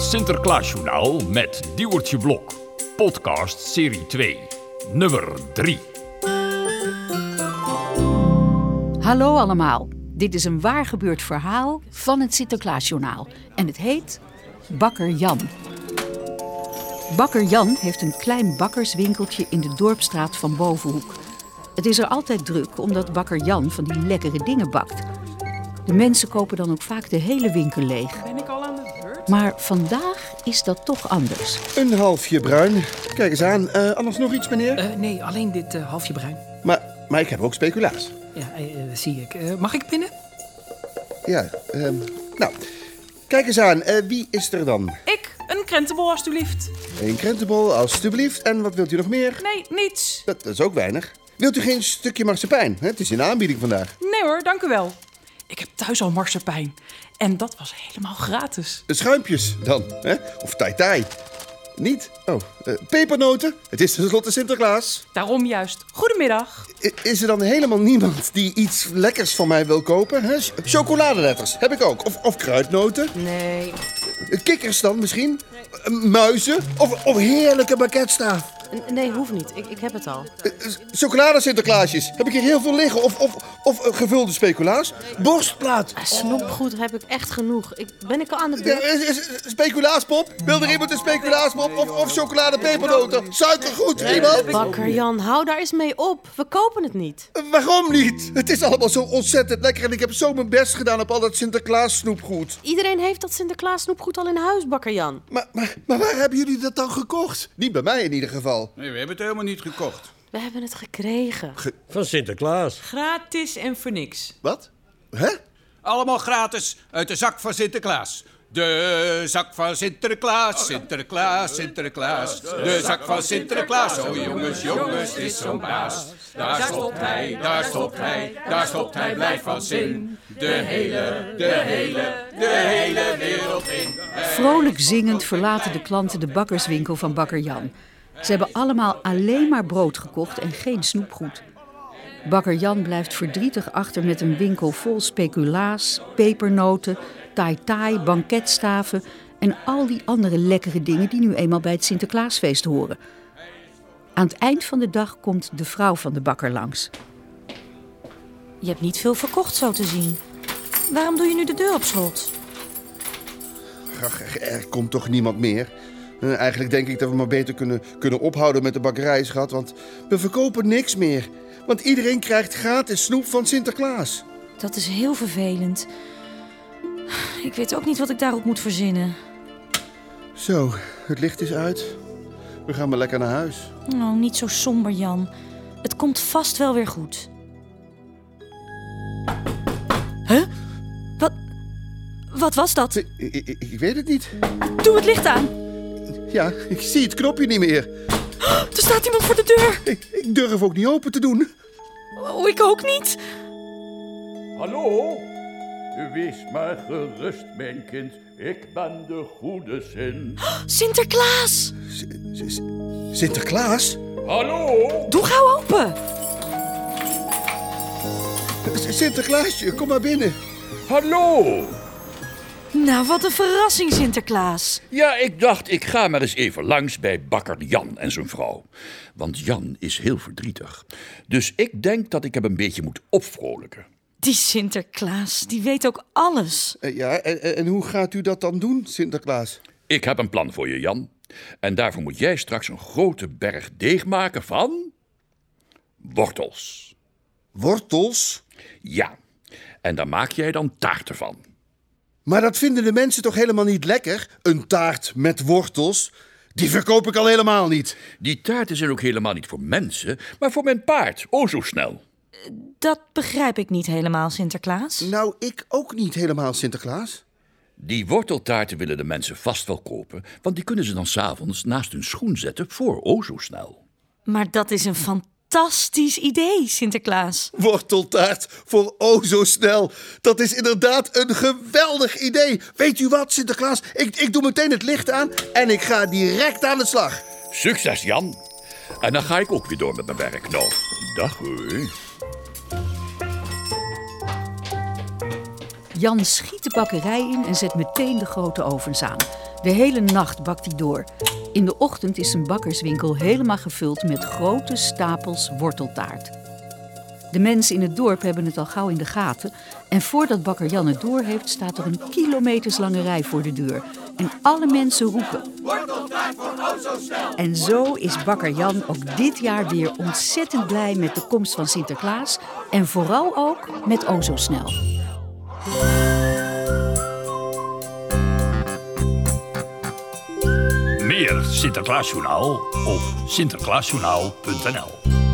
Sinterklaasjournaal met Diewertje Blok. Podcast serie 2, nummer 3. Hallo allemaal. Dit is een waar gebeurd verhaal van het Sinterklaasjournaal. En het heet Bakker Jan. Bakker Jan heeft een klein bakkerswinkeltje in de dorpstraat van Bovenhoek. Het is er altijd druk omdat Bakker Jan van die lekkere dingen bakt. De mensen kopen dan ook vaak de hele winkel leeg. Ben ik al aan de beurt? Maar vandaag is dat toch anders. Een halfje bruin. Kijk eens aan. Eh, anders nog iets, meneer? Eh, nee, alleen dit eh, halfje bruin. Maar, maar ik heb ook speculaas. Ja, eh, eh, dat zie ik. Eh, mag ik pinnen? Ja, ehm, nou. Kijk eens aan. Eh, wie is er dan? Ik, een krentenbol alstublieft. Een krentenbol, alstublieft. En wat wilt u nog meer? Nee, niets. Dat, dat is ook weinig. Wilt u geen stukje marsepein? Het is in de aanbieding vandaag. Nee hoor, dank u wel. Ik heb thuis al marsepein. En dat was helemaal gratis. De schuimpjes dan, hè? Of tai tai. Niet? Oh, eh, pepernoten. Het is tenslotte Sinterklaas. Daarom juist. Goedemiddag. I- is er dan helemaal niemand die iets lekkers van mij wil kopen? Hè? Ch- Chocoladeletters heb ik ook. Of, of kruidnoten. Nee. Kikkers dan misschien? Eh, Muizen? Of, of heerlijke bakketsta? N- Nee, hoeft niet. Ik, ik heb het al. Eh, eh, Chocolade Sinterklaasjes. Heb ik hier heel veel liggen. Of, of, of eh, gevulde speculaas. Borstplaat. Ah, Snoepgoed heb ik echt genoeg. Ik, ben ik al aan de Eh, beurt? eh, eh, Speculaaspop? Wil er iemand een speculaaspop? Of, of chocoladepepernoten? Suikergoed, iemand? Bakker Jan, hou daar eens mee op. We kopen het niet. Eh, Waarom niet? Het is allemaal zo ontzettend lekker en ik heb zo mijn best gedaan op al dat Sinterklaas snoepgoed. Iedereen heeft dat Sinterklaas snoepgoed al in huis, Bakker Jan. Maar, maar, maar waar hebben jullie dat dan gekocht? Niet bij mij in ieder geval. Nee, we hebben het helemaal niet gekocht. We hebben het gekregen. Van Sinterklaas. Gratis en voor niks. Wat? Hè? Allemaal gratis uit de zak van Sinterklaas. De zak van Sinterklaas, Sinterklaas, Sinterklaas. De zak van Sinterklaas. Oh jongens, jongens, dit is zo'n baas. Daar stopt hij, daar stopt hij, daar stopt hij, blijf van zin. De hele, de hele, de hele wereld in. Vrolijk zingend verlaten de klanten de bakkerswinkel van bakker Jan. Ze hebben allemaal alleen maar brood gekocht en geen snoepgoed. Bakker Jan blijft verdrietig achter met een winkel vol speculaas, pepernoten, tai-tai, banketstaven en al die andere lekkere dingen die nu eenmaal bij het Sinterklaasfeest horen. Aan het eind van de dag komt de vrouw van de bakker langs. Je hebt niet veel verkocht, zo te zien. Waarom doe je nu de deur op slot? Ach, ach, er komt toch niemand meer? Eh, Eigenlijk denk ik dat we maar beter kunnen, kunnen ophouden met de bakkerijschat, want we verkopen niks meer. Want iedereen krijgt gratis snoep van Sinterklaas. Dat is heel vervelend. Ik weet ook niet wat ik daarop moet verzinnen. Zo, het licht is uit. We gaan maar lekker naar huis. Oh, niet zo somber, Jan. Het komt vast wel weer goed. Huh? Wat, wat was dat? Ik, ik, ik- ik weet het niet. Doe het licht aan. Ja, ik zie het knopje niet meer. Er staat iemand voor de deur. Ik, ik durf ook niet open te doen. Oh, ik ook niet. Hallo? Wees maar gerust, mijn kind. Ik ben de goede zin. Sinterklaas. S- S- Sinterklaas? Hallo? Doe gauw open. S- Sinterklaasje, kom maar binnen. Hallo? Nou, wat een verrassing, Sinterklaas. Ja, ik dacht, ik ga maar eens even langs bij bakker Jan en zijn vrouw. Want Jan is heel verdrietig. Dus ik denk dat ik hem een beetje moet opvrolijken. Die Sinterklaas, die weet ook alles. Eh, ja, en, en- en hoe gaat u dat dan doen, Sinterklaas? Ik heb een plan voor je, Jan. En daarvoor moet jij straks een grote berg deeg maken van... wortels. Wortels? Ja. En daar maak jij dan taarten van. Maar dat vinden de mensen toch helemaal niet lekker? Een taart met wortels? Die verkoop ik al helemaal niet. Die taarten zijn ook helemaal niet voor mensen, maar voor mijn paard. O, zo snel. Dat begrijp ik niet helemaal, Sinterklaas. Nou, ik ook niet helemaal, Sinterklaas. Die worteltaarten willen de mensen vast wel kopen, want die kunnen ze dan s'avonds naast hun schoen zetten voor o zo snel. Maar dat is een fantastisch idee, Sinterklaas. Worteltaart voor oh zo snel. Dat is inderdaad een geweldig idee. Weet u wat, Sinterklaas? Ik, ik doe meteen het licht aan en ik ga direct aan de slag. Succes, Jan. En dan ga ik ook weer door met mijn werk. Nou, dag hoor. Jan schiet de bakkerij in en zet meteen de grote ovens aan. De hele nacht bakt hij door. In de ochtend is zijn bakkerswinkel helemaal gevuld met grote stapels worteltaart. De mensen in het dorp hebben het al gauw in de gaten. En voordat bakker Jan het door heeft, staat er een kilometerslange rij voor de deur. En alle mensen roepen. En zo is bakker Jan ook dit jaar weer ontzettend blij met de komst van Sinterklaas. En vooral ook met O Zo Snel. Meer Sinterklaasjournaal op sinterklaasjournaal.nl